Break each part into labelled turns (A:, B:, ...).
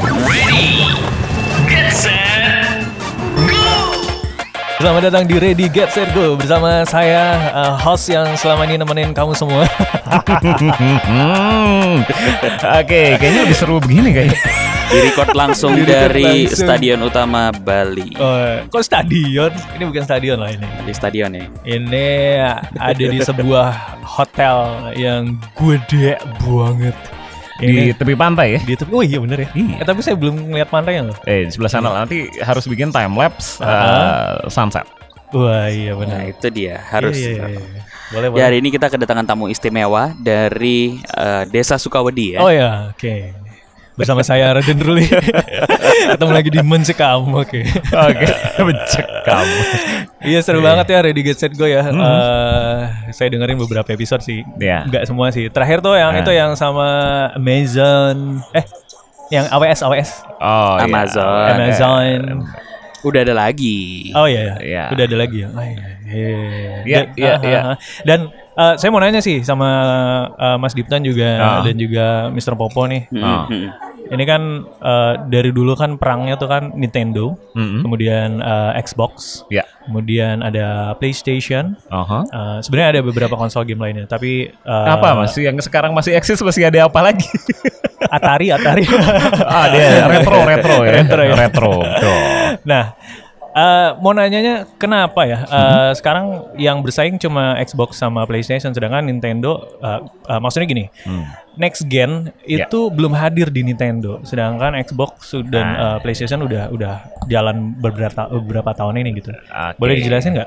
A: Ready, get set, go!
B: Selamat datang di Ready Get Set Go bersama saya eh, host yang selama ini nemenin kamu semua.
C: Hmm. Oke, kayaknya lebih seru begini kayaknya.
D: Direcord langsung
B: Direcord
D: dari
B: langsung.
D: Stadion Utama Bali.
B: Eh, kok stadion? Ini bukan stadion lah ini.
D: Di stadion ya.
B: Hmm. Ini ada di sebuah hotel yang gede banget.
C: Di
B: Ini
C: tepi pantai ya.
B: di tepi. Oh iya bener ya.
C: Iya.
B: Eh, tapi saya belum ngeliat pantainya loh.
C: Eh, di sebelah sana lah. nanti harus bikin time lapse eh,
B: Ah.
C: sunset.
B: Wah iya
D: Nah
B: bener.
D: itu dia harus.
B: Iya, iya, iya. Boleh
D: Ya
B: boleh.
D: hari ini kita kedatangan tamu istimewa dari eh, Desa Sukawedi ya.
B: Oh ya, oke. Bersama saya Raden Ruli. Ketemu lagi di Mencekam, oke.
C: Oke, mencekam.
B: Iya seru banget ya Ready Get Set Go ya. Eh, saya dengerin beberapa episode sih.
C: Iya.
B: Enggak semua sih. Terakhir tuh yang
C: Nah.
B: itu yang sama Amazon eh yang AWS AWS
C: Oh, iya.
D: Amazon.
B: Amazon.
D: Udah ada lagi.
B: Oh iya,
C: Iya.
B: udah ada lagi ya. Oh, iya.
C: Iya,
B: Dan-
C: iya,
B: ah, ah,
C: iya.
B: ah. Dan eh, saya mau nanya sih sama eh, Mas Diptan juga
C: Ah.
B: dan juga Mr. Popo nih.
D: Mm,
C: Oh.
D: mm.
B: Ini kan eh, dari dulu kan perangnya tuh kan Nintendo,
C: Mm-mm.
B: kemudian eh, Xbox,
C: Hmm. Ya.
B: kemudian ada PlayStation.
C: Aha.
B: Eh, Sebenarnya ada beberapa konsol game lainnya, tapi eh,
C: Apa masih yang sekarang masih eksis masih ada apa lagi?
B: Atari, Atari.
C: ah, dia retro, retro ya.
B: Retro ya.
C: retro. betul.
B: nah, eh, mau nanyanya kenapa ya? Eh,
C: Mm-hmm.
B: Sekarang yang bersaing cuma Xbox sama PlayStation, sedangkan Nintendo, eh, eh, maksudnya gini,
C: Hmm.
B: next gen
C: Ya.
B: itu belum hadir di Nintendo, sedangkan Xbox su- dan
C: Ah.
B: eh, PlayStation udah udah jalan beberapa beberapa tahun ini gitu.
C: Oke.
B: Boleh dijelasin nggak?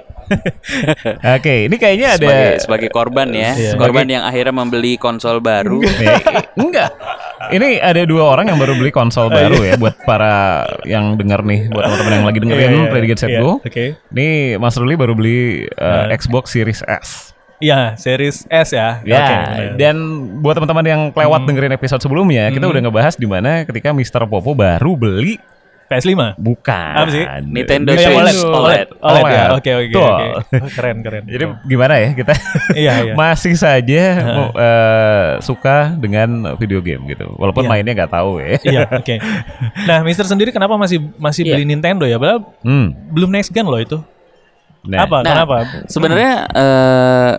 C: Oke, ini kayaknya ada
D: Sebagai, sebagai korban ya,
B: Iya.
D: korban yang akhirnya membeli konsol baru.
C: Eh, enggak. Ini ada dua orang yang baru beli
B: Oh,
C: konsol
B: iya.
C: baru ya buat para yang denger nih, buat teman-teman yang lagi dengerin
B: Iya, iya,
C: Ready Get Set
B: iya,
C: Go.
B: oke. Nah.
C: Nih Mas Ruli baru beli uh, Xbox Series S.
B: Iya, series S ya.
C: Ya,
B: Oke, benar. Hmm.
C: dan buat teman-teman yang lewat dengerin episode sebelumnya, kita udah ngebahas di mana ketika Mr. Popo baru beli
B: PS5.
C: bukan
B: Apa sih? Oh,
D: Nintendo
B: yang OLED,
D: Switch
B: OLED, OLED, ya. Oke, oke,
C: Betul.
B: oke. Keren, keren.
C: Jadi gimana ya kita
B: Iya, iya.
C: masih saja mau, eh, suka dengan video game gitu, walaupun mainnya nggak tahu ya.
B: Iya, oke. Nah, Mister sendiri kenapa masih masih beli Nintendo ya? Padahal
C: Hmm.
B: belum next gen loh itu.
C: Nah,
B: Apa?
D: Nah,
B: Kenapa?
D: Sebenarnya eh,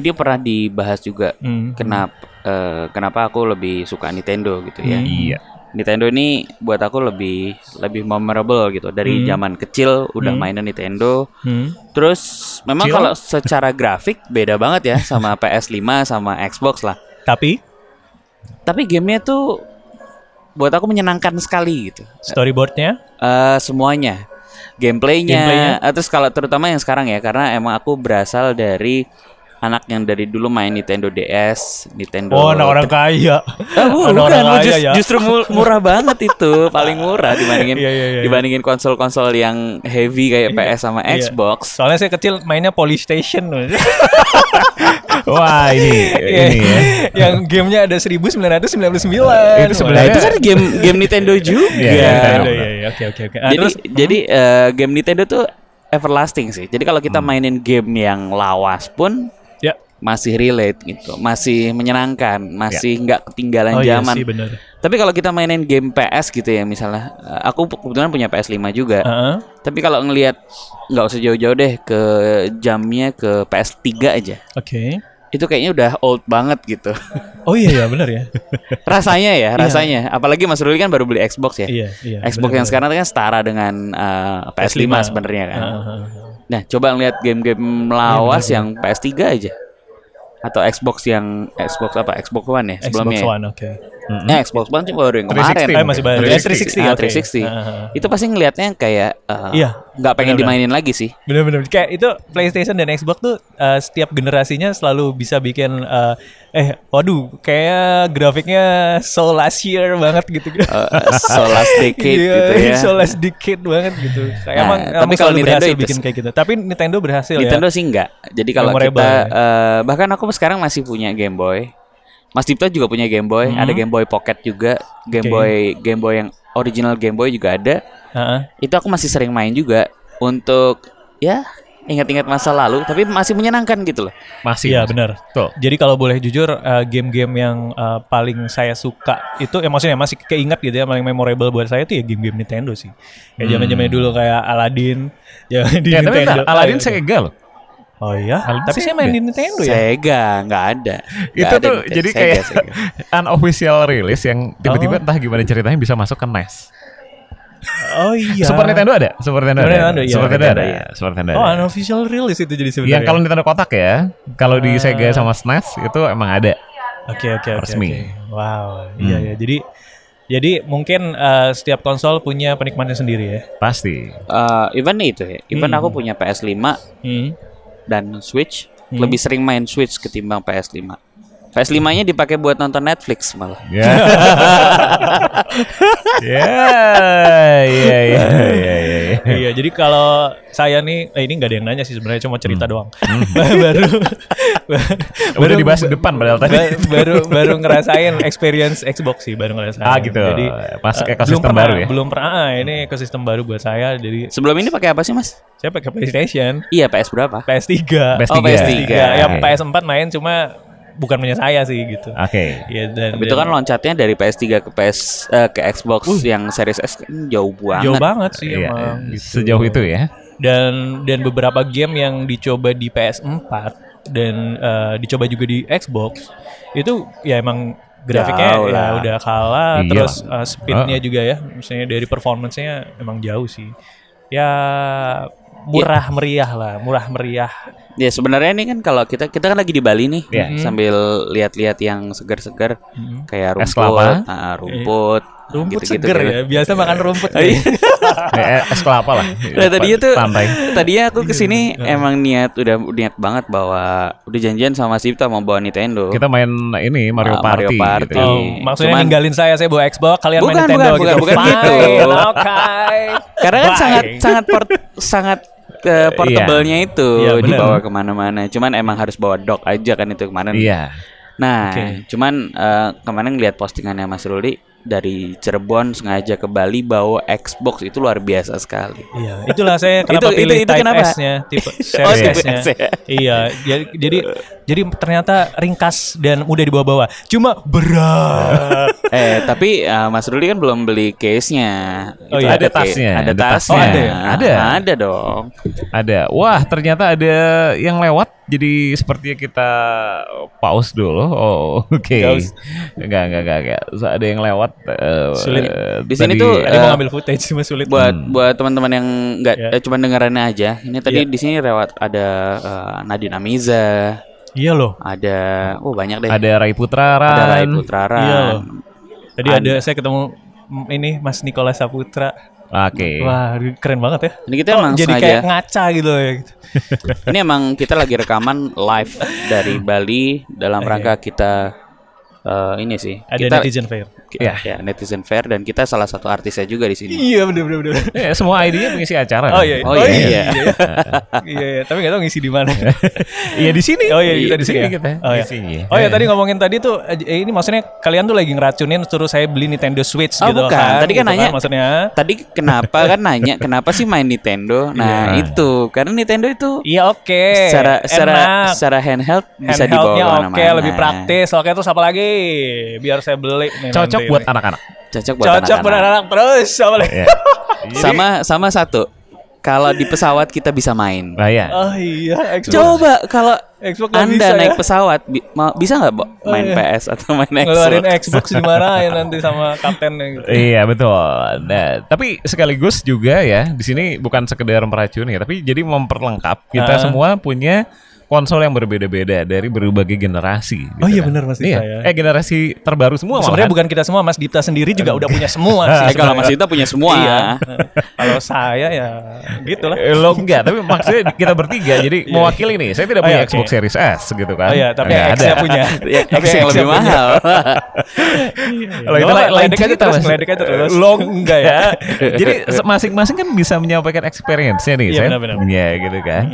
D: ini pernah dibahas juga.
B: Hmm.
D: Kenapa eh, kenapa aku lebih suka Nintendo gitu ya?
B: Hmm.
C: Iya.
D: Nintendo ini buat aku lebih lebih memorable gitu dari zaman kecil udah mainan Nintendo.
B: Hmm.
D: Terus memang
C: Kecil?
D: kalau secara grafik beda banget ya sama PS5 sama Xbox lah.
B: Tapi
D: Tapi gamenya tuh buat aku menyenangkan sekali gitu.
B: storyboardnya
D: Eh semuanya gameplaynya,
B: Gameplaynya?
D: Eh, terus kalau terutama yang sekarang ya karena emang aku berasal dari anak yang dari dulu main Nintendo DS, Nintendo
B: Oh, anak orang kaya.
D: Ah, bu,
B: Anak
D: bukan,
B: orang
D: bu,
B: kaya
D: jus-
B: ya.
D: justru mu- murah banget itu, paling murah dibandingin
B: Iya, iya, iya.
D: dibandingin konsol-konsol yang heavy kayak PS sama
B: Iya.
D: Xbox.
B: Soalnya saya kecil mainnya Polystation loh.
C: Wah ini
B: Iya.
C: ini ya.
B: Yang gamenya ada 1999.
C: Itu
D: Nah,
C: sebenarnya-
D: itu kan game game Nintendo juga.
C: Iya,
B: Iya,
C: Nintendo.
B: ada, iya, iya. Oke, oke, oke. Ah,
D: Jadi
B: Terus
D: jadi eh, game Nintendo tuh everlasting sih. Jadi kalau
B: Hmm.
D: kita mainin game yang lawas pun
B: ya.
D: masih relate gitu, masih menyenangkan, masih nggak ketinggalan
B: Oh, iya
D: zaman.
B: sih benar.
D: Tapi kalau kita mainin game PS gitu ya misalnya, eh, aku kebetulan punya PS5 juga.
B: Heeh.
D: Tapi kalau ngelihat nggak usah jauh-jauh deh ke jamnya ke PS3 aja.
B: Oke.
D: Itu kayaknya udah old banget gitu.
B: Oh iya ya, benar ya.
D: rasanya ya, rasanya. Apalagi Mas Ruli kan baru beli Xbox ya.
B: Iya, iya.
D: Xbox yang sekarang kan setara dengan eh, PS5, sebenarnya kan.
B: Ah.
D: Nah, coba ngelihat game-game lawas yang PS3 aja. Atau Xbox yang Xbox apa? Xbox One ya
B: Xbox
D: sebelumnya. ya?
B: One, mm-hmm. oke.
D: Nah, Xbox One cuma baru yang
C: 360.
D: kemarin.
B: Eh, masih baru.
C: 360.
D: Ah,
B: oke. Ah,
D: 360.
B: ah, ah.
D: Itu pasti ngelihatnya kayak eh,
B: Iya,
D: nggak pengen
B: benar-benar.
D: dimainin lagi sih.
B: Bener-bener kayak itu PlayStation dan Xbox tuh eh, setiap generasinya selalu bisa bikin eh, eh waduh kayak grafiknya so last year banget gitu.
D: Eh, so last decade
B: Iya,
D: gitu ya.
B: so last decade banget gitu. Kayak
D: Nah,
B: emang
D: tapi
B: emang
D: kalau
B: selalu
D: Nintendo
B: berhasil
D: itu
B: bikin
D: sih.
B: kayak gitu. Tapi Nintendo berhasil
D: Nintendo
B: ya.
D: sih enggak. Jadi kalau
B: Memorable
D: kita
B: ya.
D: eh, bahkan aku sekarang masih punya Game Boy. Mas Dipta juga punya Game Boy, ada Game Boy Pocket juga, Game
B: Mm-hmm. Oke.
D: Boy Game Boy yang
B: Ah,
D: original Game Boy juga ada.
B: Heeh.
D: Itu aku masih sering main juga untuk ya ingat-ingat masa lalu tapi masih menyenangkan gitu loh.
C: Masih.
B: Iya benar.
C: Betul.
B: Jadi kalau boleh jujur eh, game-game yang eh, paling saya suka itu ya maksudnya masih keinget gitu ya paling memorable buat saya itu ya game-game Nintendo sih. Kayak zaman-zamannya dulu kayak Aladdin, zaman di
C: Hmm. Ya, tapi
B: Nintendo.
C: bentar, Aladdin
B: Oh, iya.
C: Sega loh.
B: Oh iya,
C: Aladdin
B: tapi saya main
C: Sega.
B: di Nintendo ya.
D: Sega nggak ada. Nggak
C: itu
D: ada
C: tuh
D: Nintendo.
C: jadi
D: Sega,
C: kayak
D: Sega.
C: unofficial release yang tiba-tiba
B: Oh.
C: entah gimana ceritanya bisa masuk ke NES.
B: Oh iya.
C: Super Nintendo ada? Super Nintendo
B: Super
C: ada.
B: Nintendo, iya.
C: Super Nintendo ada.
B: Nintendo,
C: Super Nintendo.
B: Oh,
C: ada.
B: unofficial release itu jadi sebenarnya.
C: Yang Iya, kalau Nintendo kotak ya, kalau di Sega sama SNES itu emang ada.
B: Oke oke oke.
C: Resmi. Hmm.
B: oke. Wow. Iya ya. Jadi jadi mungkin eh, setiap konsol punya penikmatnya sendiri ya.
C: Pasti.
D: Eh, even itu ya. Even aku punya PS5
B: Hmm.
D: dan Switch.
C: Hmm.
D: Lebih sering main Switch ketimbang PS5. PS5-nya dipakai buat nonton Netflix malah.
C: Ya. Ya, ya, ya, ya, ya, ya.
B: iya, jadi kalau saya nih, eh, ini nggak ada yang nanya sih sebenarnya, cuma cerita doang. baru
C: Udah dibahas di depan padahal tadi.
B: ba- baru baru ngerasain experience Xbox sih, baru ngerasain.
C: Ah, gitu. Masuk
B: eh,
C: ekosistem
B: belum pernah-
C: baru ya?
B: Belum pernah. ah, ini ekosistem baru buat saya. Jadi
D: Sebelum ini pakai apa sih, Mas?
B: saya pakai PlayStation,
D: Iya, PS berapa?
B: PS3,
C: Best
D: Oh,
C: tiga.
D: PS3.
B: Ya,
C: Oke.
B: PS4 main cuma bukan punya saya sih gitu.
C: Oke.
B: Iya, dan,
D: Tapi itu
B: dan-
D: kan loncatnya dari PS3 ke PS eh, ke Xbox
C: Uh.
D: yang Series S kan jauh banget.
B: jauh banget sih
C: Iya,
B: emang gitu.
C: Sejauh itu ya.
B: dan dan beberapa game yang dicoba di PS4 dan eh, dicoba juga di Xbox itu ya emang grafiknya
D: Jauh
B: ya
D: lah.
B: udah kalah
C: Iya.
B: terus eh, speednya
D: Ah.
B: juga ya misalnya dari performance-nya emang jauh sih ya murah
D: Iya.
B: meriah lah murah meriah
D: Ya sebenarnya ini kan kalau kita kita kan lagi di Bali nih
C: Iya.
D: sambil lihat-lihat yang segar-segar
B: Mm-hmm.
D: kayak
C: Es
D: rumput,
C: kelapa.
D: ah, rumput,
B: rumput
D: gitu-gitu iya.
B: seger
D: gitu.
B: ya biasa makan rumput ya.
C: Eh, eh, Es kelapa lah.
D: Nah, tadinya tuh
C: Pantai.
D: tadinya aku
B: Iya.
D: kesini emang niat udah niat banget bahwa udah janjian sama Sipta mau bawa Nintendo.
C: Kita main ini Mario
D: Ah,
C: Party.
D: Mario Party.
C: gitu.
B: Oh, maksudnya
D: Cuman-
B: ninggalin saya saya bawa Xbox kalian main
D: Bukan,
B: Nintendo
D: bukan,
B: gitu
D: bukan, bukan gitu.
B: Fine, okay.
D: Karena kan
B: Bye.
D: sangat sangat port- sangat eh, portable-nya itu
B: Iya, benar.
D: dibawa kemana-mana. Cuman emang harus bawa dock aja kan itu kemarin.
C: Iya.
D: Nah,
B: Oke.
D: cuman eh, kemarin ngeliat postingannya Mas Ruli dari Cirebon sengaja ke Bali bawa Xbox itu luar biasa sekali.
B: Iya, itulah saya kenapa
D: Itu- itu-
B: pilih
D: itu
B: Type
D: kenapa?
B: S-nya, tipe Series
D: tipe
B: S-nya.
D: S ya.
B: Iya, jadi jadi jadi ternyata ringkas dan mudah dibawa-bawa. Cuma berat.
D: eh, tapi eh, Mas Ruli kan belum beli case-nya.
B: Oh
D: Itu
B: iya,
C: ada
D: case-
C: tasnya,
D: Ada
C: ada
D: tasnya.
C: tasnya. Oh, ada ya?
D: Nah,
C: Ada.
D: Ada dong.
C: Ada. Wah, ternyata ada yang lewat. Jadi sepertinya kita pause dulu. Oh, oke.
B: Pause.
C: Enggak, enggak, enggak, enggak. So, ada yang lewat. eh,
B: Sulit.
C: eh,
D: Di sini
C: tadi,
D: tuh,
B: Tadi
C: eh,
B: mau ngambil footage cuma sulit.
D: Buat buat teman-teman yang nggak
B: Iya.
D: eh, cuman dengerannya aja. Ini tadi di sini lewat ada eh, Nadine Amiza,
B: Iya loh.
D: ada oh banyak deh.
C: ada Rai Putra,
D: Ada Rai
C: Ran.
D: Putra
B: Iya loh.
D: Ran.
B: Tadi ada saya ketemu mm, ini Mas Nikola Saputra.
C: Oke.
B: Wah, keren banget ya.
D: Ini kita emang
B: jadi
D: sengaja-
B: kayak ngaca gitu ya gitu.
D: Ini emang kita lagi rekaman live dari Bali dalam rangka kita eh, ini sih.
B: Iya. Ada
D: kita
B: netizen fair.
D: ki- ya, netizen fair dan kita salah satu artisnya juga di sini.
B: Iya, bener bener bener.
C: Eh, semua ID-nya mengisi acara.
B: Oh iya,
D: Oh,
B: iya,
D: iya,
B: iya, iya, iya. tapi nggak tahu ngisi di mana.
C: Iya di sini.
B: Oh iya, kita di sini. ya?
C: kita.
B: Oh iya.
C: Di sini.
B: Oh iya, tadi ngomongin tadi tuh eh, ini maksudnya kalian tuh lagi ngeracunin terus saya beli Nintendo Switch
D: Oh
B: gitu
D: bukan,
B: kan.
D: tadi kan
B: gitu
D: nanya
B: maksudnya.
D: Tadi kenapa kan nanya kenapa sih main Nintendo? Nah, itu karena Nintendo itu
B: Iya oke.
D: secara secara
B: enak.
D: secara handheld bisa dibawa
B: Handheldnya
D: kemana
B: oke, lebih praktis. Oke, terus apa lagi? Biar saya beli nih
C: Cocok
B: nanti
C: buat
B: nih.
C: anak-anak.
D: Cocok buat
B: Cocok buat
D: anak-anak.
B: anak-anak terus apa lagi?
C: Iya.
D: Sama sama satu. Kalau di pesawat kita bisa main.
C: Nah, iya.
B: Oh iya, Xbox.
D: Coba kalau
B: Xbox nggak
D: Anda
B: bisa
D: naik
B: ya.
D: pesawat bi- mau- bisa nggak Bo, main
B: iya.
D: PS atau main
B: Ngeluarin
D: Xbox?
B: Xbox di mana ya nanti sama kaptennya
D: Eh,
B: gitu.
C: Iya betul. Nah, tapi sekaligus juga ya di sini bukan sekedar meracuni, ya, tapi jadi memperlengkap kita
B: Ah.
C: semua punya konsol yang berbeda-beda dari berbagai generasi.
B: Oh iya,
C: kan.
B: benar Mas Dita
C: Iya.
B: ya.
C: Eh generasi terbaru
B: Oh,
C: semua
B: Sebenarnya bukan
C: malahan.
B: kita semua, Mas Dipta sendiri juga udah punya semua sih.
D: Eh,
B: sebenarnya.
D: kalau Mas Dita punya semua.
B: Iya. Kalau saya ya gitu lah.
C: Eh, Lo enggak, tapi maksudnya kita bertiga jadi mewakili nih. Saya tidak
B: Oh,
C: punya
B: iya, oke.
C: Xbox Xbox Series S gitu kan.
B: Oh iya, tapi
C: Nggak
B: X-nya
C: ada.
B: punya.
D: Ya, tapi yang
B: X-nya
D: lebih
B: punya.
D: mahal.
C: Kalau kita
B: Nggak,
C: lain
B: ledek Iya, aja terus, ledek aja terus.
C: Long
B: Enggak ya?
C: Jadi se- masing-masing kan bisa menyampaikan experience-nya nih,
B: Iya,
C: Sen.
B: benar-benar.
C: Iya, gitu kan.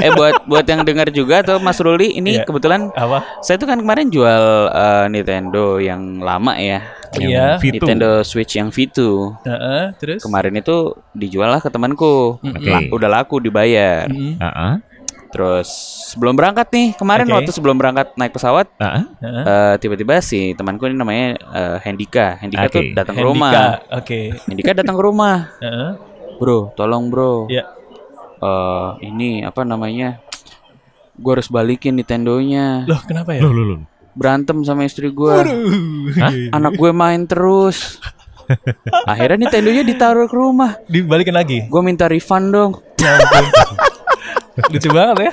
D: eh buat buat yang dengar juga atau Mas Ruli ini
B: Iya.
D: kebetulan
B: Apa?
D: saya tuh kan kemarin jual eh, Nintendo yang lama ya.
B: Iya.
C: V2.
D: Nintendo Switch yang V2.
B: Heeh, terus?
D: Kemarin itu dijual lah ke temanku.
C: Oke.
D: La- udah laku dibayar.
C: Heeh.
D: Terus sebelum berangkat nih, kemarin
B: Oke.
D: waktu sebelum berangkat naik pesawat
C: Heeh.
B: Heeh.
D: eh, tiba-tiba si temanku ini namanya eh, Hendika. Hendika
C: Oke.
D: tuh datang ke
B: Handika,
D: rumah.
B: Oke.
D: Hendika datang ke rumah.
B: Heeh.
D: Bro, tolong bro.
B: Ya.
D: Eh, ini apa namanya? Gue harus balikin Nintendonya.
B: Loh, kenapa ya?
C: Loh, loh.
D: Berantem sama istri gue.
C: Hah?
D: Anak gue main terus. Akhirnya Nintendonya ditaruh ke rumah.
B: Dibalikin lagi.
D: Gue minta refund dong.
B: Lucu banget ya.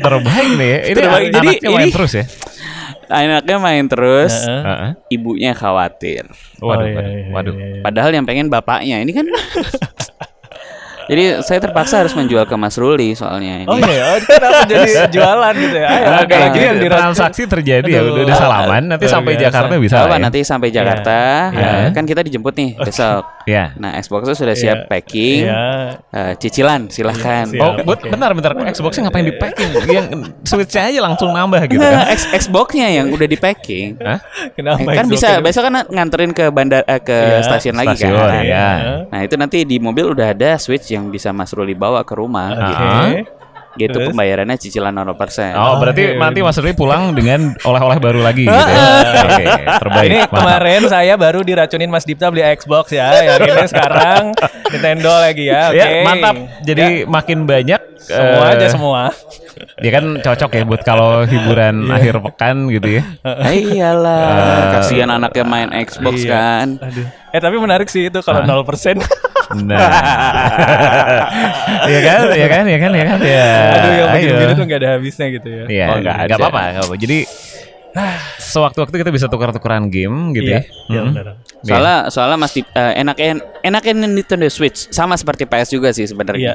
C: Terbaik nih ya. Ini an-
D: Terbaik. Jadi,
C: anaknya main
D: ini-
C: terus ya.
D: Anaknya main terus.
B: Heeh.
C: Heeh.
D: Ibunya khawatir.
C: Waduh,
B: Oh, iya,
C: waduh,
B: iya,
C: waduh.
B: iya, iya.
D: Padahal yang pengen bapaknya ini kan. Jadi saya terpaksa harus menjual ke Mas Ruli soalnya ini.
B: Oh iya, oh, kenapa jadi jualan gitu ya? Ayo, kalau
D: Oke,
B: gini
C: Nah, Jadi
B: yang dirasa-
C: transaksi terjadi ya
B: Aduh.
C: udah, udah salaman nanti
B: Luar
C: sampai
B: biasa.
C: Jakarta bisa
D: Gak
C: lah
D: apa,
C: ya.
D: nanti sampai Jakarta
C: Iya.
D: eh, kan kita dijemput nih besok.
C: Iya.
D: Nah Xboxnya sudah siap
B: Oh. Iya.
D: packing,
B: Iya.
D: Eh, cicilan silahkan.
B: Iya,
C: Oh,
B: Siap,
C: but,
B: oke.
C: bentar bentar Xbox-nya ngapain di packing? Yang switch-nya aja langsung nambah gitu
D: Nah,
C: kan.
D: X- Xboxnya yang udah di packing.
C: Hah?
B: Kenapa?
D: kan
B: Xbox
D: bisa
B: ini?
D: besok kan nganterin ke bandar eh, ke
B: Iya,
D: stasiun lagi
C: stasiun,
D: kan.
C: iya.
D: Nah itu nanti di mobil udah ada switch yang bisa Mas Ruli bawa ke rumah
B: Oke. Nah,
D: gitu. Gitu
B: Ah. Terus?
D: pembayarannya cicilan 0%.
C: Oh, berarti
B: Oke.
C: nanti Mas Rudi pulang dengan oleh-oleh baru lagi gitu. ya. Oke, terbaik.
B: Ini
C: mantap.
B: kemarin saya baru diracunin Mas Dipta beli Xbox ya. Yang ini sekarang Nintendo lagi ya. Oke.
C: Ya, mantap. Jadi makin banyak
B: semua
C: eh,
B: aja semua.
C: Dia kan cocok ya buat kalau hiburan akhir pekan gitu ya.
D: Eh, iyalah, kasihan anaknya main Xbox
B: Eh, Iya.
D: kan.
B: Aduh. Eh tapi menarik sih itu kalau 0%.
C: Nah. ya kan, ya kan, ya kan, ya kan. Ya.
B: Aduh yang
C: ayo.
B: begini-begini tuh nggak ada habisnya gitu ya.
C: Iya,
D: Oh, nggak
C: nggak
D: ada.
C: apa-apa, nggak apa-apa. Jadi sewaktu-waktu kita bisa tukar-tukaran game gitu
B: Iya,
C: ya.
B: iya,
C: Mm.
B: benar.
C: Iya.
D: Soalnya soalnya Mas Dip- eh, enaknya enaknya Nintendo Switch sama seperti PS juga sih
B: Iya.
D: sebenarnya.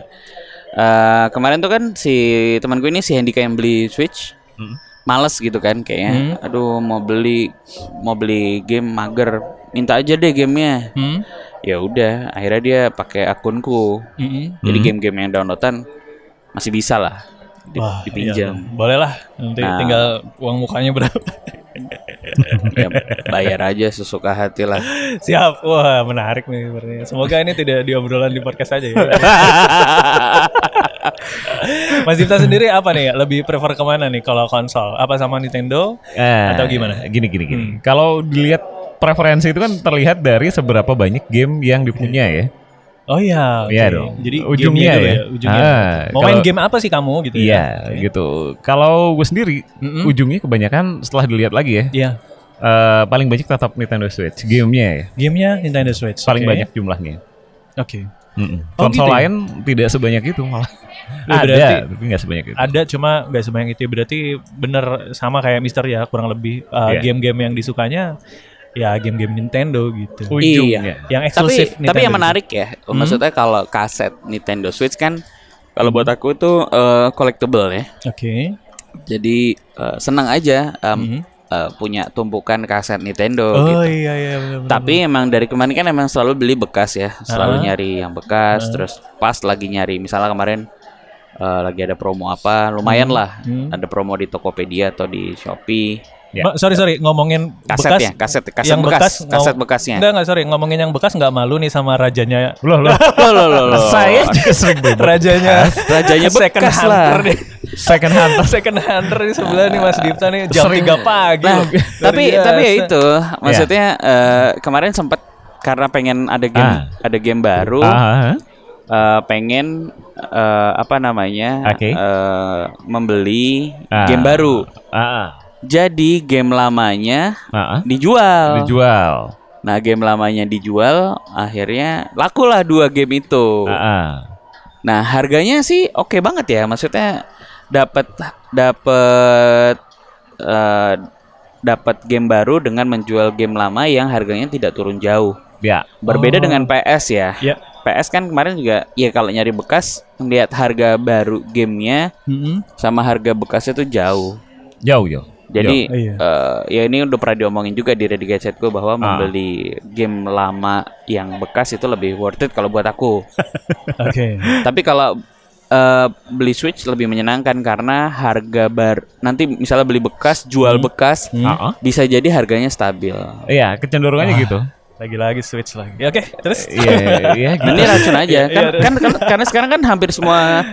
D: Eh, kemarin tuh kan si temanku ini si Handika yang beli Switch.
B: Hmm.
D: Males gitu kan kayaknya. Aduh mau beli mau beli game mager. Minta aja deh gamenya.
B: Hmm?
D: Ya udah, akhirnya dia pakai akunku.
B: Mm-mm.
D: Jadi game-game yang downloadan masih bisa lah di-
B: Wah, iya.
D: dipinjam.
B: Boleh lah. Nanti
D: Nah.
B: tinggal uang mukanya berapa.
D: Ya, bayar aja sesuka hati lah.
B: Siap. Wah, menarik nih sebenarnya. Semoga ini tidak diobrolan di podcast aja ya. Mas Dipta sendiri apa nih? Lebih prefer kemana nih kalau konsol? Apa sama Nintendo?
C: Eh,
B: Atau gimana? Hmm.
C: Gini gini gini. Kalau dilihat preferensi itu kan terlihat dari seberapa banyak game yang dipunya ya.
B: Oh iya. oke.
C: Iya dong.
B: Jadi
C: Ujungnya
B: ujungnya
C: ya.
B: ya. Ujungnya.
C: Ah,
B: Mau
C: kalau-
B: main game apa sih kamu gitu
C: Iya,
B: ya?
C: gitu. Kalau gue sendiri ujungnya kebanyakan setelah dilihat lagi ya.
B: Hmm? Iya.
C: eh, paling banyak tetap Nintendo Switch gamenya ya.
B: Gamenya Nintendo Switch.
C: Paling
B: oke.
C: banyak jumlahnya.
B: Oke.
C: Mm-mm.
B: Oh,
C: Konsol
B: gitu ya?
C: lain tidak sebanyak itu malah.
B: Loh, berarti-
C: ada, tapi nggak sebanyak itu.
B: Ada cuma nggak sebanyak itu. Berarti bener sama kayak Mister ya kurang lebih uh,
C: Iya.
B: game-game yang disukanya ya game-game Nintendo gitu.
C: Ujungnya.
B: Yang
D: tapi
B: eksklusif
D: Iya.
B: Nintendo.
D: tapi yang
B: Hmm.
D: menarik ya maksudnya kalau kaset Nintendo Switch kan kalau buat aku itu eh, collectible ya
B: Oke.
D: jadi eh, senang aja em, eh, punya tumpukan kaset Nintendo
B: Hmm. Oh
D: gitu
B: iya iya bener, bener.
D: tapi emang dari kemarin kan emang selalu beli bekas ya
B: Ah.
D: selalu nyari yang bekas terus pas lagi nyari misalnya kemarin eh, lagi ada promo apa lumayan
B: Hmm.
D: lah ada promo di Tokopedia atau di Shopee
C: Ya.
B: Ma- sorry sorry ngomongin bekas
D: Iya. kasetnya kaset kaset
B: yang bekas,
D: bekas, kaset
B: ngom-
D: bekasnya
B: Enggak enggak sorry ngomongin yang bekas nggak malu nih sama rajanya
C: Loh, loh.
D: Loh, loh, loh, loh.
C: Saya juga sering beli
B: rajanya
D: Rajanya
B: second
D: bekas lah.
B: hunter nih.
C: second hand.
B: second hunter di sebelah nih Mas Dipta nih jam
C: Sering.
B: 3 pagi. Iya.
D: Nah,
B: Luar
D: tapi tapi ya
B: biasa. Iya.
D: itu maksudnya eh, kemarin sempat karena pengen ada game
C: Ah.
D: ada game baru
C: Ah,
D: eh, pengen eh, apa namanya
C: Oke.
D: eh, membeli
C: Ah.
D: game baru
C: ah,
D: jadi game lamanya
C: ah, ah.
D: dijual.
C: Dijual.
D: nah game lamanya dijual akhirnya lakulah dua game itu
C: Ah, ah.
D: nah harganya sih oke banget ya maksudnya dapat dapat eh, dapat game baru dengan menjual game lama yang harganya tidak turun jauh
C: Ya.
D: Berbeda dengan PS
B: Oh.
D: ya.
B: Ya.
D: PS kan kemarin juga ya kalau nyari bekas ngelihat harga baru gamenya
C: Mm-hmm.
B: Mm-mm.
D: sama harga bekasnya tuh jauh.
C: Jauh jauh.
D: Jadi
B: Iya. Ah.
D: eh, ya ini udah pernah diomongin juga di Ready Gadget gue bahwa membeli game lama yang bekas itu lebih worth it kalau buat aku.
B: Oke.
D: Tapi kalau eh, beli Switch lebih menyenangkan karena harga bar nanti misalnya beli bekas, jual
B: Hmm.
D: bekas,
C: Ah, ah.
D: bisa jadi harganya stabil.
C: Iya kecenderungannya
B: Ah.
C: gitu.
B: Lagi-lagi switch lagi. Ya, Oke, terus.
C: Iya iya gitu.
D: Ini racun aja kan, kan, kan- karena sekarang kan hampir semua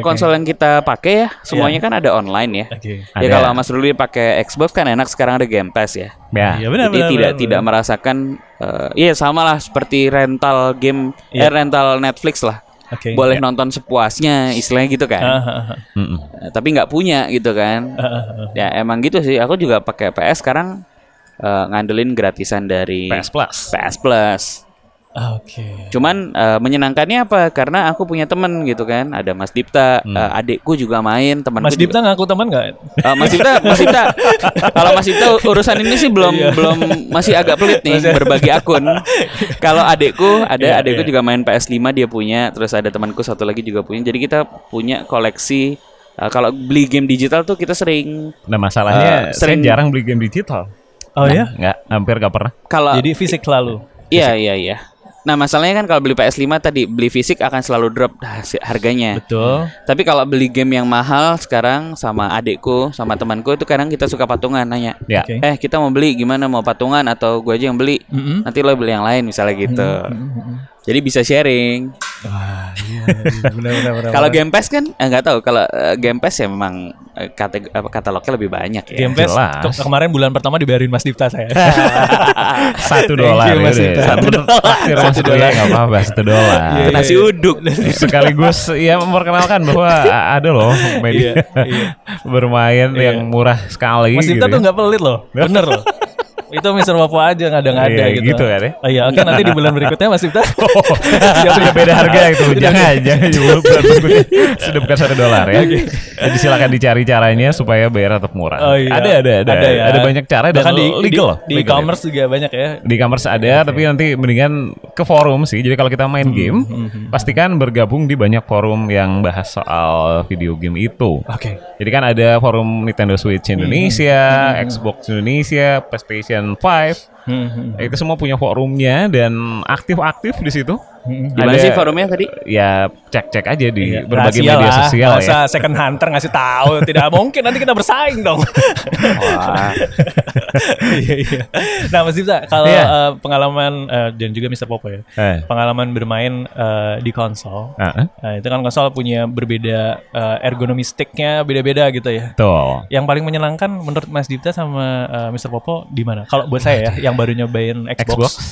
B: iya. oke. Iya.
D: konsol yang kita pakai ya semuanya kan ada online ya.
B: Oke.
D: Ya
C: Ada.
D: kalau Mas Ruli pakai Xbox kan enak sekarang ada Game Pass ya.
B: Iya
C: Ya.
B: benar
D: Jadi
B: benar.
D: tidak
B: benar,
D: tidak merasakan eh, iya sama lah seperti rental game eh, rental Netflix lah.
B: benar. Iya. Oke. Iya.
D: Boleh nonton sepuasnya istilahnya gitu kan.
B: Ah, ah, ah.
C: Mm-mm.
D: Eh, tapi nggak punya gitu kan.
B: Ah, ah, ah.
D: Ya emang gitu sih. Aku juga pakai PS sekarang eh, ngandelin gratisan dari
B: Iya.
C: PS Plus.
D: PS Plus.
B: Ah, Oke.
D: Cuman eh, menyenangkannya apa? Karena aku punya temen gitu kan. Ada Mas Dipta, eh, adikku juga
C: Kan
D: main, teman
B: Hmm. Mas Dipta ngaku teman nggak?
C: Nah,
D: Eh, Mas Dipta, Mas Dipta. Kalau Mas Dipta urusan ini sih belum
B: Iya.
D: belum masih agak pelit nih berbagi akun. Kalau adekku
B: Iya,
D: ada adekku juga main PS5 dia punya, terus ada temanku satu lagi juga punya. Jadi kita punya koleksi eh, kalau beli game digital tuh kita sering
C: Nah masalahnya
D: Eh, sering-
C: saya jarang beli game digital.
B: Ah, Oh
C: Nah,
B: ya?
C: Nggak, hampir nggak pernah.
D: kalau
B: Jadi fisik lalu.
D: iya iya iya. Nah, masalahnya kan kalau beli PS5 tadi beli fisik akan selalu drop hasi- harganya.
B: Betul.
D: Tapi kalau beli game yang mahal sekarang sama adekku sama temanku itu kadang kita suka patungan nanya.
C: Ya.
B: Oke.
D: Eh kita mau beli gimana mau patungan atau gua aja yang beli nanti lo beli yang lain misalnya gitu jadi bisa sharing
B: Wah, iya, iya, benar benar benar.
D: kalau Game Pass kan eh, nggak tahu kalau eh, Game Pass ya memang eh, kate- apa, katalognya lebih banyak ya
B: Game Pass
C: Iya, jelas. Iya.
B: ke- kemarin bulan pertama dibayarin Mas Dipta saya.
C: Satu
B: Thank you,
C: dolar ya
B: Mas
C: deh.
B: Ita.
C: Satu dolar. Satu dolar nggak apa-apa. Satu
B: Iya,
C: dolar.
D: nasi uduk
C: Eh, Sekaligus ya memperkenalkan bahwa a- ada loh media bermain yang murah sekali.
B: Iya, Mas Dipta
C: gitu
B: tuh
C: ya.
B: nggak pelit loh, bener loh. Itu Mister Wafa aja ngada-ngada
C: Iya,
B: gitu.
C: gitu kan ya.
B: Oh, iya, oke nanti di bulan berikutnya Mas Dipta.
C: sudah beda harga itu
B: Iya.
C: jangan jangan jual bulan berikutnya. sudah bukan satu dolar ya jadi silakan dicari caranya supaya bayar tetap murah
B: Oh, iya.
C: ada ada ada ada,
B: ya.
C: banyak cara dan
B: Bahkan di,
C: legal loh
B: di, iya. di
C: legal ya.
B: e-commerce juga banyak ya.
C: di commerce ada tapi nanti mendingan ke forum sih jadi kalau kita
B: Hmm,
C: main game pastikan bergabung di banyak forum yang bahas soal video game itu
B: Oke.
C: jadi kan ada forum Nintendo Switch Indonesia, Xbox Indonesia, PlayStation 5.
B: Hmm,
C: Itu semua punya forumnya dan aktif-aktif di situ.
D: gimana
B: Hmm.
C: Ada-
D: sih forumnya tadi
C: ya cek-cek aja di berbagai
B: Iya, Rahasia
C: media
B: lah.
C: sosial
B: Masa
C: ya.
B: second hunter ngasih tahu tidak mungkin nanti kita bersaing dong.
D: Wah.
B: Iya iya. Nah Mas Dipta kalau
C: Iya.
B: eh, pengalaman eh, dan juga Mr. Popo ya.
C: Eh.
B: Pengalaman bermain eh, di konsol.
C: Heeh.
B: Nah, itu kan konsol punya berbeda eh, ergonomi sticknya beda-beda gitu ya.
C: Betul.
B: Yang paling menyenangkan menurut Mas Dipta sama eh, Mr. Popo di mana? Kalau buat saya ya, yang baru nyobain Xbox,
C: Xbox. Oh,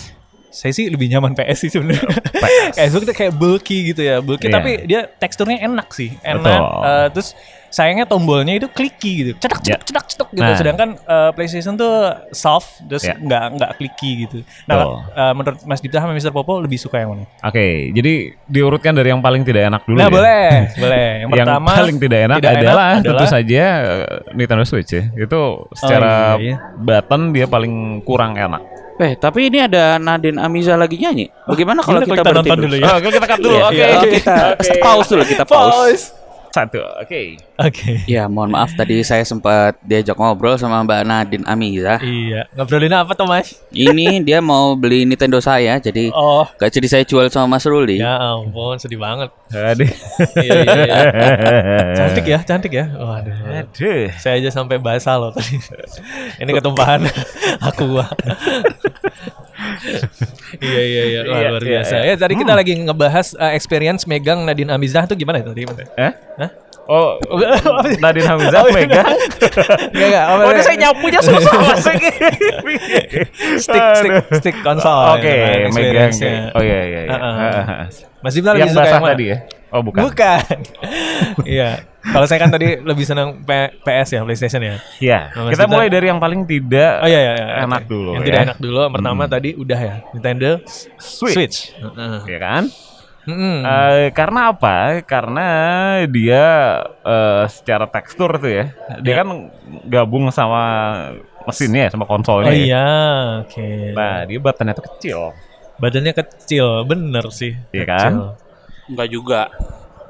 B: saya sih lebih nyaman PS sih sebenarnya. Xbox tuh kayak bulky gitu ya, bulky
C: Iya.
B: tapi dia teksturnya enak sih, enak.
C: Betul.
B: Eh, terus sayangnya tombolnya itu clicky gitu, cedak cedak
C: Ya.
B: cedak cedak gitu.
C: Nah.
B: Sedangkan eh, PlayStation tuh soft, terus
C: Ya.
B: nggak nggak clicky gitu.
C: Betul.
B: Nah, eh, menurut Mas Dipta sama Mr. Popo lebih suka yang mana?
C: Oke, jadi diurutkan dari yang paling tidak enak dulu
B: Nah
C: ya.
B: boleh, boleh. Yang,
C: yang
B: pertama
C: paling tidak enak
B: tidak
C: adalah,
B: enak Oh,
C: tentu saja eh, Nintendo Switch ya. Itu secara
B: iya, iya.
C: button dia paling kurang enak.
D: eh tapi ini ada Nadine Amiza lagi nyanyi bagaimana kalau
B: Ah, Gimana
D: kita, berhenti
B: nonton dulu ya.
C: Oh, kita cut dulu.
D: Iya,
C: Oke.
D: iya. Oh, kita pause dulu kita pause.
C: Satu. Oke.
B: Oke.
D: ya mohon maaf tadi saya sempat diajak ngobrol sama Mbak Nadine Amiza
B: Iya. Ngobrolin apa tuh Mas?
D: ini dia mau beli Nintendo saya jadi
B: Oh.
D: gak jadi saya jual sama Mas Ruli
B: Ya ampun, sedih banget.
C: Aduh.
B: Iya, iya, iya. Cantik ya, cantik ya. Waduh.
C: Aduh.
B: Saya aja sampai basah loh tadi. Ini ketumpahan aku. Wak. iya iya iya Wah,
C: Iya,
B: luar
C: iya,
B: biasa. Ya tadi kita lagi ngebahas uh, experience megang Nadine Amizah tuh gimana tadi? Enggak
C: Eh?
B: Hah?
C: Oh, Nadine Hamizah pegang.
B: Oh, iya. enggak. apa-
C: Oh, ini saya nyapunya susah lagi.
B: stick stick stick konsol.
C: Oke,
B: ya, kan,
C: megang.
B: experience-nya.
C: Oh iya iya iya.
B: Heeh.
C: Heeh.
B: Mas Dipta lebih
C: Yang
B: suka
C: basah
B: yang mana?
C: tadi ya. Oh, bukan.
B: Bukan. Iya. Kalau saya kan tadi lebih senang P- PS ya, PlayStation ya.
C: Ya,
B: Nah,
C: kita
B: maksudnya-
C: mulai dari yang paling tidak
B: Oh iya iya, iya.
C: enak
B: Oke.
C: dulu.
B: Yang
C: ya. Hmm.
B: tidak enak dulu yang pertama tadi udah ya Nintendo
C: Switch.
B: Heeh.
C: ya kan?
B: Mm-mm.
C: Eh, karena apa? Karena dia eh, secara tekstur tuh ya,
B: Iya.
C: dia kan gabung sama mesinnya, sama
B: Oh
C: konsolnya. ya.
B: iya, oke.
C: Nah, dia buttonnya tuh kecil.
B: Badannya kecil, bener sih.
C: Iya kan?
B: Kecil.
D: Enggak juga.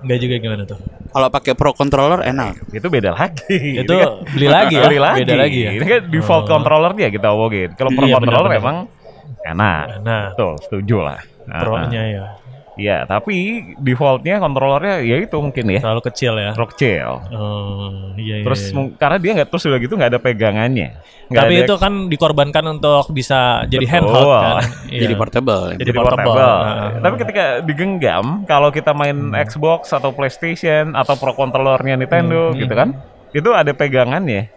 B: Nggak juga gimana tuh?
D: Kalau pakai Pro Controller enak.
C: Itu beda lagi.
B: Itu
C: Ini kan-
B: beli lagi ya?
C: beli lagi.
B: Beda lagi ya?
C: Ini kan default controller dia kita omongin. Kalau pro
B: Iya,
C: controller
B: benar-benar.
C: memang enak.
B: Nah,
C: Betul, setuju lah. Nah,
B: pro-nya ya
C: Iya, tapi defaultnya controllernya ya itu mungkin ya.
B: terlalu kecil ya.
C: Rock chill.
B: Oh, iya, iya,
C: Terus
B: iya.
C: mung- karena dia nggak terus udah gitu nggak ada pegangannya. Nggak
B: Tapi
C: ada
B: itu kan dikorbankan untuk bisa jadi handheld kan. Iya.
D: Jadi portable.
B: Jadi
C: jadi
B: portable.
C: portable.
B: Nah.
C: Tapi ketika digenggam, kalau kita main
B: Hmm.
C: Xbox atau PlayStation atau pro controllernya Nintendo gitu kan, itu ada pegangannya,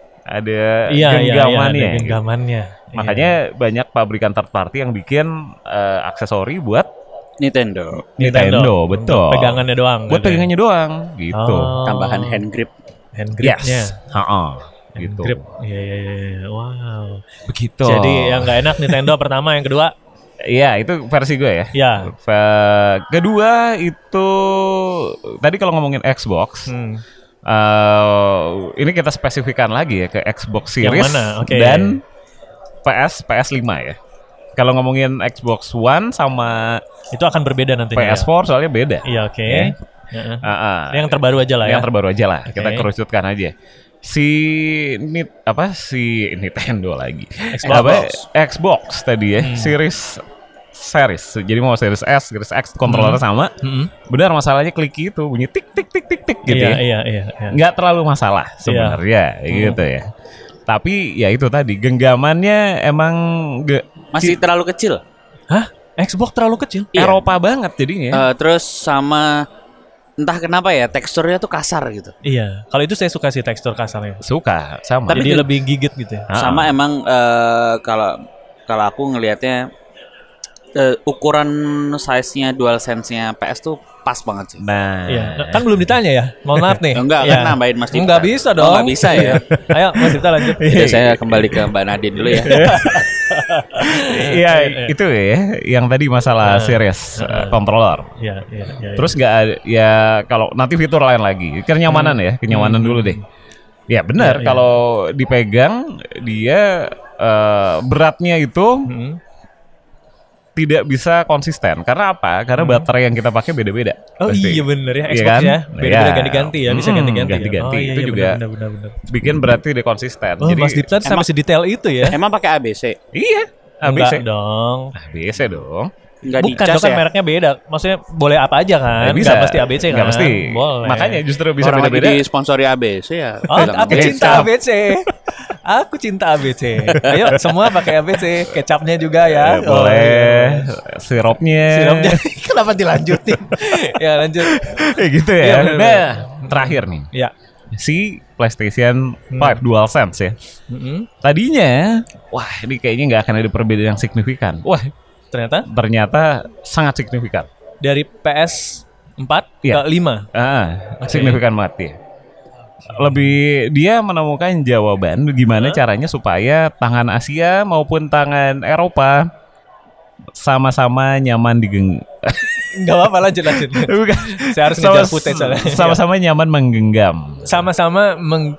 B: Hmm. Iya, iya,
C: ada
B: iya, ada Iya.
C: genggamannya. gitu.
B: genggamannya.
C: Makanya banyak pabrikan third party yang bikin eh, aksesori buat
D: Nintendo.
B: Iya.
C: Nintendo,
B: Untuk
C: betul.
B: Pegangannya doang. gitu
C: buat
B: ya.
C: pegangannya doang gitu.
B: Oh.
D: Tambahan hand grip.
B: hand
C: yes.
B: gripnya.
C: Ha-ha,
B: Hand
C: gitu.
B: grip. Iya, iya, iya, iya. Wow.
C: Begitu.
B: Jadi yang nggak enak Nintendo pertama, yang kedua
C: Iya, itu versi gue ya.
B: ya.
C: Ve- Kedua itu tadi kalau ngomongin Xbox,
B: Hmm.
C: eh, ini kita spesifikkan lagi ya ke Xbox
B: Yang
C: Series
B: mana? Oke.
C: dan PS PS5 ya. Kalau ngomongin Xbox One sama
B: Itu akan berbeda nantinya. ya.
C: PS4 soalnya beda.
B: Iya, oke.
C: Ya.
B: Heeh.
C: Ah, ah.
B: Yang terbaru aja lah ya.
C: Yang terbaru aja lah. Kita
B: Oke.
C: kerucutkan aja. Si Nit apa si Nintendo lagi.
B: Xbox. Hmm.
C: Apa, Xbox tadi ya. Series series. Jadi mau series S, series X kontrolernya
B: Hmm.
C: sama.
B: Mm-mm.
C: Benar masalahnya klik itu bunyi tik tik tik tik tik Hmm. gitu
B: iya,
C: ya.
B: iya, iya, iya.
C: Nggak terlalu masalah sebenarnya gitu ya. Tapi ya itu tadi genggamannya emang nggak
D: Masih terlalu kecil.
B: Hah? Xbox terlalu kecil?
D: Iya.
C: Eropa banget jadinya.
B: Ya.
D: Eh, terus sama entah kenapa ya teksturnya tuh kasar gitu.
B: Iya. Kalau itu saya suka sih tekstur kasarnya.
C: Suka sama.
D: Tapi
B: Jadi
D: dia-
B: lebih gigit gitu ya.
C: Ah.
D: Sama emang eh, kalau kalau aku ngelihatnya eh, ukuran size-nya dual sense-nya PS tuh pas banget sih.
C: nah,
B: Iya. Nah, Kan belum ditanya ya. Mohon maaf nih.
D: Eh, Ah, Enggak,
B: Iya.
D: kan nambahin Mas Dipta.
B: Enggak bisa
D: Oh,
B: dong.
D: enggak bisa ya.
B: Ayo, Mas Dipta lanjut. Iya,
D: Jadi saya kembali ke Mbak Nadine dulu ya.
C: Iya itu ya yang tadi masalah series eh, controller.
B: Iya, iya, iya.
C: Terus nggak ada ya kalau nanti fitur lain lagi kenyamanan ya kenyamanan dulu deh. Ya benar kalau dipegang dia eh, beratnya itu
B: Hmm.
C: tidak bisa konsisten karena apa? Karena baterai yang kita pakai beda-beda.
B: Oh
C: pasti.
B: iya bener ya
C: Iya
B: Xbox
C: kan?
B: ya Beda-beda
C: Iya.
B: ganti-ganti ya Bisa
C: Mm,
B: ganti-ganti ya.
C: ganti-ganti.
B: Oh, iya,
C: Itu
B: iya,
C: juga-
B: bener, bener, bener.
C: Bikin berarti dia konsisten.
B: Oh Mas Dipta sampai sedetail itu ya Ah,
D: Emang pakai ABC?
C: iya
B: Enggak
C: ABC.
B: dong
C: ABC dong.
D: Enggak
B: Bukan
D: dicas
B: dong kan
D: ya?
B: mereknya beda Maksudnya boleh apa aja kan
C: Ya,
B: Nggak pasti ABC kan
C: Nggak mesti.
B: Boleh
C: Makanya justru bisa
D: Orang lagi
C: beda-beda. Eh,
D: disponsori ABC ya.
B: Oh,
D: bilang
B: aku
D: ABC.
B: cinta ABC. Aku cinta ABC. Ayo semua pakai ABC. Kecapnya juga ya. iya.
C: Eh, boleh sirupnya.
B: Oh. Sirupnya. Kenapa dilanjutin? ya lanjut.
C: ya gitu ya.
B: Iya, bener,
C: nah,
B: bener.
C: terakhir nih.
B: Ya.
C: Si PlayStation
B: Hmm.
C: 5 DualSense ya.
B: Mm-mm.
C: Tadinya, wah ini kayaknya nggak akan ada perbedaan yang signifikan.
B: Oh.
C: Wah,
B: Ternyata
C: ternyata sangat signifikan.
B: dari PS 4
C: Iya.
B: ke 5.
C: Ah,
B: Oke.
C: signifikan banget ya. Lebih dia menemukan jawaban gimana caranya supaya tangan Asia maupun tangan Eropa sama-sama nyaman digeng
B: Enggak apa-apa lanjut lanjut.
C: Bukan.
B: Saya harus
C: Sama-
B: ngejar footage soalnya. Iya.
C: sama-sama nyaman menggenggam.
B: Sama-sama meng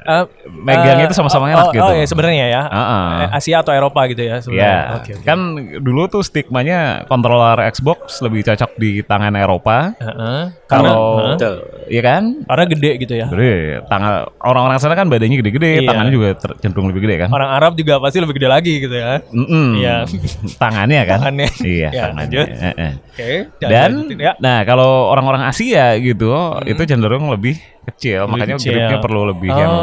B: eh,
C: Megangnya
B: eh,
C: itu sama-sama
B: oh,
C: enak
B: oh,
C: gitu.
B: Oh, iya sebenarnya ya.
C: Ah, ah.
B: Eh, Asia atau Eropa gitu ya
C: Ya,
B: sebenarnya. Oke, oke.
C: kan dulu tuh stigmanya controller Xbox lebih cocok di tangan Eropa.
B: Heeh. Eh, Karena
C: Kalau,
B: heeh.
C: iya kan?
B: karena gede gitu ya.
C: Gede, tangan orang-orang sana kan badannya gede-gede,
B: Iya.
C: tangannya juga ter- cenderung lebih gede kan?
B: Orang Arab juga pasti lebih gede lagi gitu ya.
C: Mm-mm.
B: Iya.
C: tangannya kan?
B: Tangannya.
C: Iya,
B: Ya,
C: tangannya.
B: lanjut.
C: Eh, eh.
B: Oke. jangan
C: Dan,
B: lanjutin ya.
C: nah kalau orang-orang Asia gitu, itu cenderung lebih kecil, makanya
B: kecil.
C: gripnya perlu lebih
B: oh,
C: yang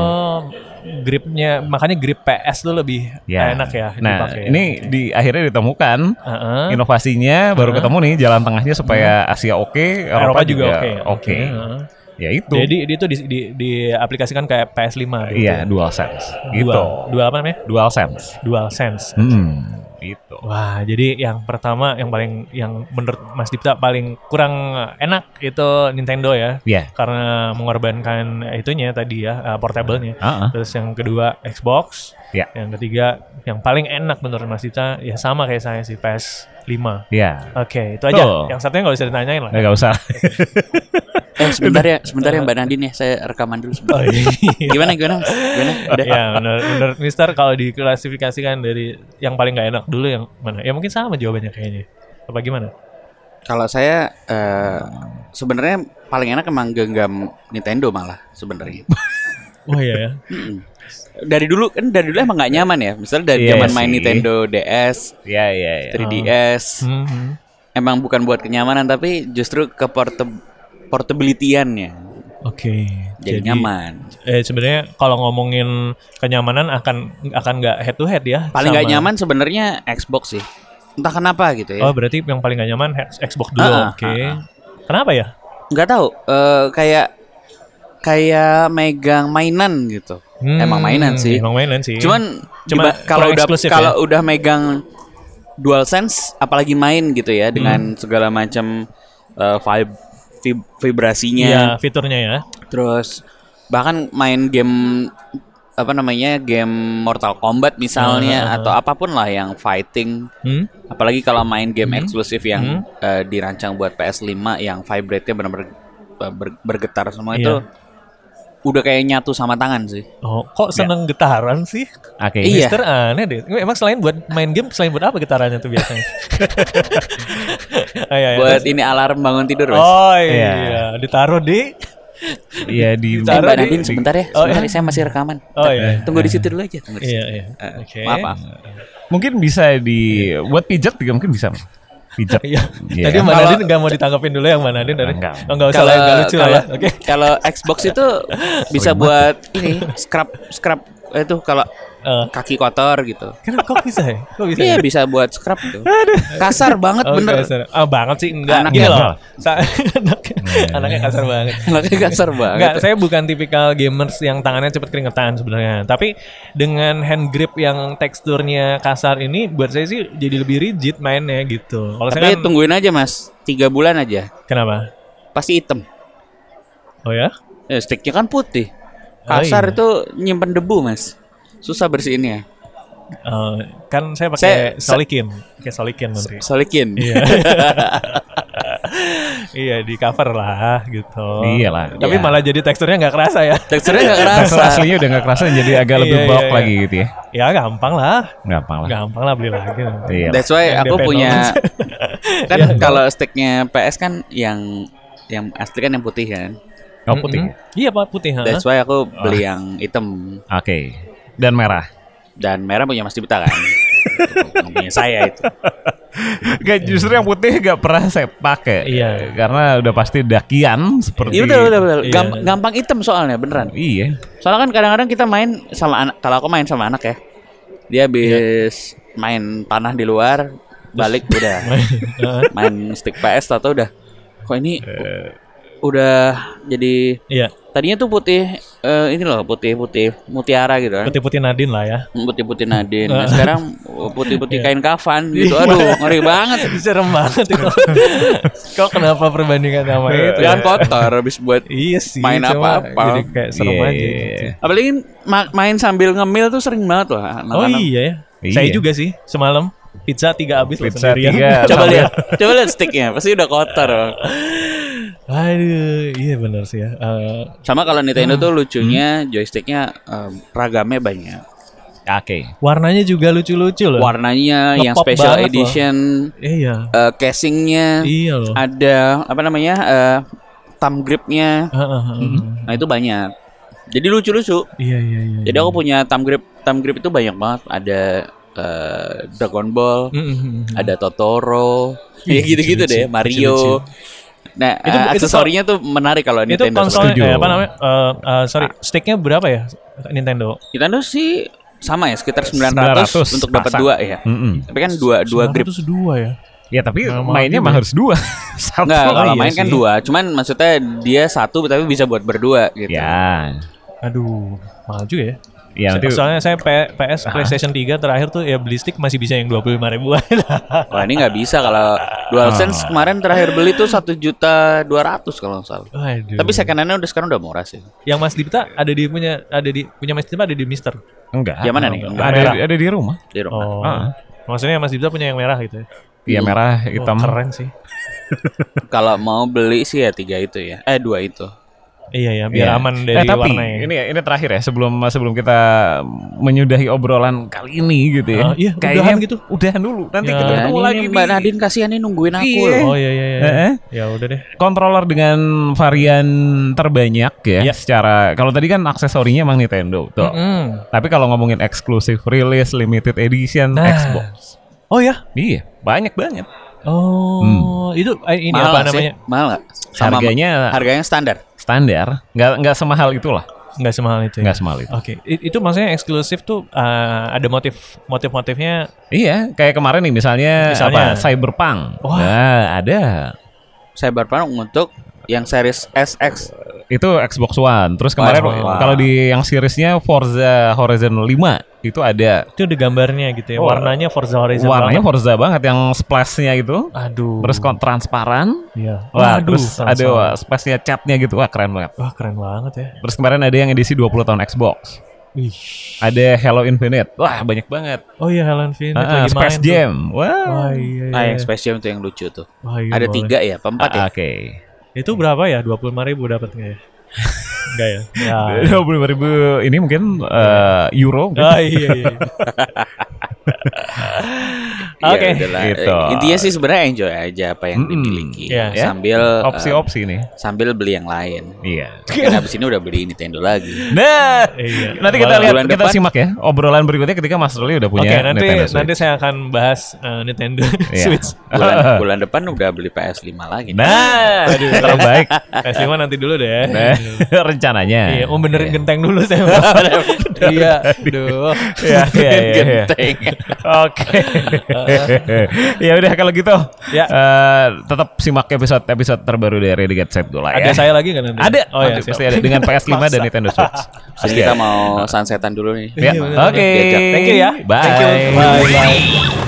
B: gripnya makanya grip PS tuh lebih
C: ya.
B: enak ya Eh,
C: Nah,
B: dipakai.
C: ini di akhirnya ditemukan
B: Heeh.
C: inovasinya baru ketemu nih jalan tengahnya supaya Asia oke,
B: Eropa
C: Eropa,
B: juga oke.
C: Oke.
B: heeh.
C: Ya itu.
B: Jadi itu di, di, diaplikasikan kayak PS5 gitu.
C: iya, dual sense. Gitu.
B: Dual, dual apa namanya?
C: Dual sense.
B: Dual sense.
C: Hmm, gitu.
B: Wah, jadi yang pertama yang paling yang menurut Mas Dipta paling kurang enak itu Nintendo ya.
C: Iya.
B: Karena mengorbankan itunya tadi ya, eh, portable-nya.
C: Heeh.
B: Terus yang kedua Xbox.
C: Ya.
B: Yang ketiga yang paling enak menurut Mas Dita ya sama kayak saya sih PS 5. Oke,
C: Iya.
B: itu aja.
C: Tuh.
B: Yang satunya nggak bisa ditanyain lah.
C: Nggak usah.
D: Eh sebentar ya, sebentar ya Mbak Nadine ya, saya rekaman dulu
C: Oh,
D: sebentar.
C: iya.
D: Gimana gimana? Mas? Gimana? Udah.
B: ya menurut, menurut Mister kalau diklasifikasikan dari yang paling nggak enak dulu yang mana? Ya mungkin sama jawabannya kayaknya. Apa gimana?
D: Kalau saya eh, sebenarnya paling enak emang genggam Nintendo malah sebenarnya.
B: Oh iya ya.
D: Mm-mm. dari dulu kan dari dulu emang nggak nyaman ya. Misalnya dari
C: Iya
D: zaman main
C: sih.
D: Nintendo DS,
C: Iya iya
B: Ya.
C: iya.
D: 3DS, Mm-hmm.
B: Mhm.
D: emang bukan buat kenyamanan tapi justru ke portab- portability-annya.
B: Oke.
D: Jadi, nyaman.
B: Eh sebenarnya kalau ngomongin kenyamanan akan akan nggak head to head ya.
D: Paling nggak
B: sama-
D: nyaman sebenarnya Xbox sih. Entah kenapa gitu ya.
B: Oh berarti yang paling gak nyaman X- Xbox dulu,
D: Ah, ah,
B: oke. Kenapa ya?
D: nggak tahu eh, kayak kayak megang mainan gitu
B: Hmm,
D: emang mainan sih
B: Emang mainan sih.
D: cuman
B: Cuma
D: diba- kalau
B: kurang
D: udah
B: eksklusif ya?
D: kalau udah megang dual sense apalagi main gitu ya
B: Hmm.
D: dengan segala macam eh, vib- vib- vibrasinya
B: Iya fiturnya ya.
D: terus bahkan main game apa namanya game Mortal Kombat misalnya atau apapun lah yang fighting
B: Hmm?
D: apalagi kalau main game
B: Mhm.
D: eksklusif yang eh, dirancang buat PS5 yang vibrate-nya benar-benar ber- bergetar semua
B: Iya.
D: itu udah kayak nyatu sama tangan sih.
B: Oh, kok seneng getaran sih?
C: Oke.
D: Ya. Iya.
B: Mister aneh deh. Emang selain buat main game, selain buat apa getarannya tuh biasanya? Ah, iya, iya.
D: buat ini alarm bangun tidur, Mas.
B: Oh iya,
C: Iya.
B: ditaruh di.
C: Iya di.
D: Eh, Mbak
B: taruh di-
D: Nadine sebentar ya,
B: Oh,
D: sebentar ya, saya masih rekaman.
B: Oh iya.
D: Tunggu di situ dulu aja, tunggu di situ.
B: Iya iya.
D: Eh,
B: Oke.
D: Maaf, maaf.
C: Mungkin bisa di buat pijat juga mungkin bisa. Pijat.
B: Iya.
C: Iya.
B: Tadi Mbak
D: Kalau-
B: Nadine nggak mau ditanggapin dulu yang Mbak Nadine dari.
C: Enggak.
B: Oh, nggak usah
D: Kalau
B: lah, nggak lucu lah.
D: kalau
B: ya. Oke.
D: kalau Xbox itu bisa buat ini scrub scrub itu kalau
B: Eh,
D: kaki kotor gitu.
B: Kenapa kok bisa ya? Kok bisa? ya?
D: Iya bisa buat scrub tuh. Kasar banget
B: Oh,
D: bener.
B: kasar. Ah, banget sih enggak
D: Anaknya Hmm.
B: gini
C: apa?
B: loh. Sa- anaknya, anaknya kasar banget.
D: Anaknya kasar banget.
B: Enggak, saya bukan tipikal gamers yang tangannya cepet keringetan sebenarnya. Tapi dengan hand grip yang teksturnya kasar ini buat saya sih jadi lebih rigid mainnya gitu. Kalau saya kan,
D: Tapi tungguin aja mas, tiga bulan aja,
B: kenapa?
D: pasti hitam.
B: Oh ya?
D: Ya, sticknya kan putih.
B: Oh,
D: Kasar
B: iya.
D: itu nyimpen debu mas, susah ya. bersihinnya.
B: Eh, kan saya pakai
D: Saya-
B: solikin, pakai solikin nanti.
D: Solikin.
B: Iya. iya di cover lah gitu.
C: Iya lah.
B: Tapi
D: Iya.
B: malah jadi teksturnya nggak kerasa ya.
D: Teksturnya nggak kerasa.
C: Tekstur Nah, aslinya udah nggak kerasa jadi agak lebih
B: Iya, iya,
C: bulk
B: iya.
C: lagi gitu ya.
B: Ya gampang lah.
C: Gampang lah.
B: Gampang lah beli lagi. nanti.
C: Iya. lah.
D: That's why
B: Yang
D: aku
B: DP
D: punya kan
B: Iya.
D: kalau sticknya PS kan yang yang asli kan yang putih kan.
C: Oh putih.
B: Mm-mm. Iya pak putih. ha?
D: That's why
B: Oh.
D: aku beli yang hitam
C: Oke. Dan merah.
D: dan merah punya Mas Dipta kan. Yang punya saya itu.
C: Gak justru yang putih gak pernah saya pakai.
B: Iya.
C: Karena udah pasti dakian seperti.
D: Iya betul betul betul.
B: Iya.
D: Gam- gampang hitam soalnya beneran.
C: Iya.
D: Soalnya kan kadang-kadang kita main sama anak. Kalau aku main sama anak ya, dia habis main panah di luar, balik udah
B: Heeh.
D: main stick PS atau udah. Kok ini
B: Eh.
D: u- udah jadi
B: Iya
D: tadinya tuh putih eh, ini loh putih putih mutiara gitu kan.
B: putih putih Nadine lah ya.
D: Putih putih Nadine. Nah, sekarang putih putih
B: Iya.
D: kain kafan gitu. Aduh ngeri banget.
B: Serem banget itu. Kok kenapa perbandingan sama
C: Iya.
B: itu? ya?
D: Jangan kotor habis buat
B: Iya sih.
D: Main
B: cuma
D: apa-apa.
B: Jadi kayak serem
C: Iya,
B: aja.
C: iya,
B: gitu.
C: iya.
D: apalagi ma- main sambil ngemil tuh sering banget loh
B: Oh
D: anak-anak.
B: iya ya.
C: Iya.
B: Saya juga sih semalam pizza tiga habis loh
C: Pizza
B: sendirian.
C: tiga.
D: Coba lihat, coba lihat sticknya, pasti udah kotor. Bang.
B: Aduh, iya benar sih ya. Eh,
D: Sama kalau Nintendo tuh lucunya
B: Hmm.
D: joysticknya em, ragamnya banyak.
C: Oke.
B: warnanya juga lucu-lucu loh.
D: Warnanya
B: Ngepop
D: yang special
B: banget loh.
D: edition,
B: Iya.
D: eh, casingnya,
B: Iya loh.
D: Ah. ada apa namanya? eh, thumb gripnya.
B: Heeh, heeh, heeh.
D: Nah, itu banyak. Jadi lucu-lucu.
B: Iya iya iya.
D: Jadi aku punya thumb grip, thumb grip itu banyak banget. Ada eh, Dragon Ball,
B: Mm, mm, mm.
D: ada Totoro,
B: Iya,
D: ya gitu-gitu
B: lucu-lucu,
D: deh, Mario. Nah,
B: Itu-
D: eh,
B: itu-
D: aksesornya tuh menarik kalau
B: Itu
D: Nintendo.
B: konsolnya
C: Studio.
B: eh, apa namanya? Eh, eh, sorry, sticknya berapa ya Nintendo?
D: Nintendo sih sama ya sekitar 900,
C: 900
D: untuk dapat
C: pasang.
D: dua ya.
C: Mm-mm.
D: Tapi kan dua dua grip.
B: 902 ya.
C: Ya tapi
B: Nah,
C: mainnya
B: maaf
C: mah harus dua. Satu.
D: Enggak, kalau
C: Oh, iya
D: main kan
C: sih.
D: dua. Cuman maksudnya dia satu tapi bisa buat berdua gitu.
C: Ya.
B: Aduh, mahal juga ya.
C: Ya nanti.
B: Soalnya saya P- PS PlayStation 3 terakhir tuh ya beli stick masih bisa yang 25 ribuan.
D: Wah, ini nggak bisa kalau
C: Ah.
D: DualSense kemarin terakhir beli tuh satu juta dua ratus kalau nggak salah.
B: Aduh.
D: Tapi second hand-nya udah sekarang udah murah sih.
B: yang Mas Dipta ada di punya ada di punya Mas Dipta ada di Mister.
C: Enggak.
D: Yang mana nih?
C: Ada ada di rumah.
D: Di rumah.
B: Oh.
C: Ah.
B: Maksudnya Mas Dipta punya yang merah gitu ya.
C: Iya merah hitam.
B: Wah, keren sih.
D: Kalau mau beli sih ya tiga itu ya. Eh dua itu.
B: Iya ya, biar
C: Iya.
B: aman
C: Eh,
B: dari
C: tapi
B: warnanya.
C: ini ya, ini terakhir ya sebelum sebelum kita menyudahi obrolan kali ini gitu ya.
B: Ah, iya,
C: Kayaknya
B: udahan gitu.
C: Udahan dulu. Nanti
B: Ya.
C: kita
D: Ya,
C: ketemu
D: ini
C: lagi
D: nih, Mbak
C: di-
D: Nadine kasihan nih nungguin aku
C: Iya.
D: loh.
B: Oh iya iya iya.
C: Heeh.
B: Ya udah deh.
C: Controller dengan varian terbanyak ya.
B: Iya.
C: Secara kalau tadi kan aksesorinya emang Nintendo tuh.
B: Mm.
C: Tapi kalau ngomongin eksklusif rilis, limited edition,
B: Nah.
C: Xbox.
B: Oh ya.
C: Iya, banyak banget.
B: Oh,
C: Hmm.
B: itu eh, ini
D: Mahal
B: apa
D: nggak sih?
B: namanya?
D: Mahal nggak? Sama
C: Harganya-
D: harganya standar.
C: Standar, nggak nggak semahal itulah,
B: Nggak semahal itu. Ya?
C: nggak semahal itu.
B: Oke, I- itu maksudnya eksklusif tuh eh, ada motif motif-motifnya.
C: Iya, kayak kemarin nih misalnya,
B: Misalnya?
C: apa Cyberpunk.
B: Wah.
C: Nah, ada.
D: Cyberpunk untuk yang series SX.
C: Itu Xbox One. Terus kemarin
B: Wow.
C: kalau di yang seriesnya Forza Horizon 5 itu ada
B: Itu ada gambarnya gitu ya.
C: Oh.
B: Warnanya Forza Horizon.
C: warnanya
B: banget.
C: Forza banget yang splashnya itu.
B: Aduh.
C: Terus kok transparan.
B: Iya.
C: Wah,
B: Waduh,
C: terus
B: transparan.
C: ada wah, splashnya catnya gitu. Wah, keren banget.
B: Wah, keren banget ya.
C: Terus kemarin ada yang edisi 20 tahun Xbox.
B: Wih.
C: Ada Halo Infinite. Wah, banyak banget.
B: Oh iya Helen Finn
C: Ah,
B: lagi main
C: Space
B: tuh.
C: Jam.
B: Wah,
C: Wah.
B: iya,
D: Ah,
B: iya.
D: yang Space Jam itu yang lucu tuh.
B: Wah, iya,
D: Ada
B: boleh.
D: tiga ya, apa empat ya?
C: Ah, Oke.
B: Itu berapa ya? 25.000 ribu dapat nggak ya? Enggak ya? Ya.
C: 25 ribu ini mungkin eh, euro mungkin.
B: Ah, iya, iya. ah,
D: Iya,
B: Oke.
D: udahlah.
C: gitu.
D: Intinya sih sebenarnya enjoy aja apa yang
C: Mm-mm.
D: dimiliki
B: Iya.
C: Ya.
D: sambil eh,
C: opsi-opsi nih.
D: sambil beli yang lain.
B: gitu.
C: Iya.
D: Kan habis ini udah beli Nintendo lagi.
C: Nah,
B: Iya.
C: nanti kita lihat
D: Bulan
C: kita
D: depan.
C: simak ya obrolan berikutnya ketika Mas Ruli udah
B: Oke,
C: punya
B: nanti
C: Nintendo Switch.
B: nanti saya akan bahas eh, Nintendo
C: Iya.
B: Switch.
D: Bulan, bulan depan udah beli PS5 lagi.
C: Nah, terbaik.
B: PS5 Eh, nanti dulu deh.
C: Nah, rencananya.
B: Iya, mau benerin genteng dulu saya. iya, duh.
C: Iya, iya, iya, iya.
D: Genteng.
C: Oke. ya udah kalau gitu.
B: Ya.
C: eh, tetap simak episode-episode terbaru dari Renegade Set Gola
B: Ada
C: ya.
B: saya lagi kan nanti?
C: Ada.
B: Oh ya,
C: Nanti pasti ada dengan PS5 dan Nintendo Switch.
D: Terus
C: Pasti
D: kita
C: ada.
D: mau sunsetan dulu nih.
C: Ya.
B: Iya, bener.
C: Oke.
D: Diajak.
B: Thank you ya.
C: Bye.
B: Thank you. Bye. Bye.
A: Bye.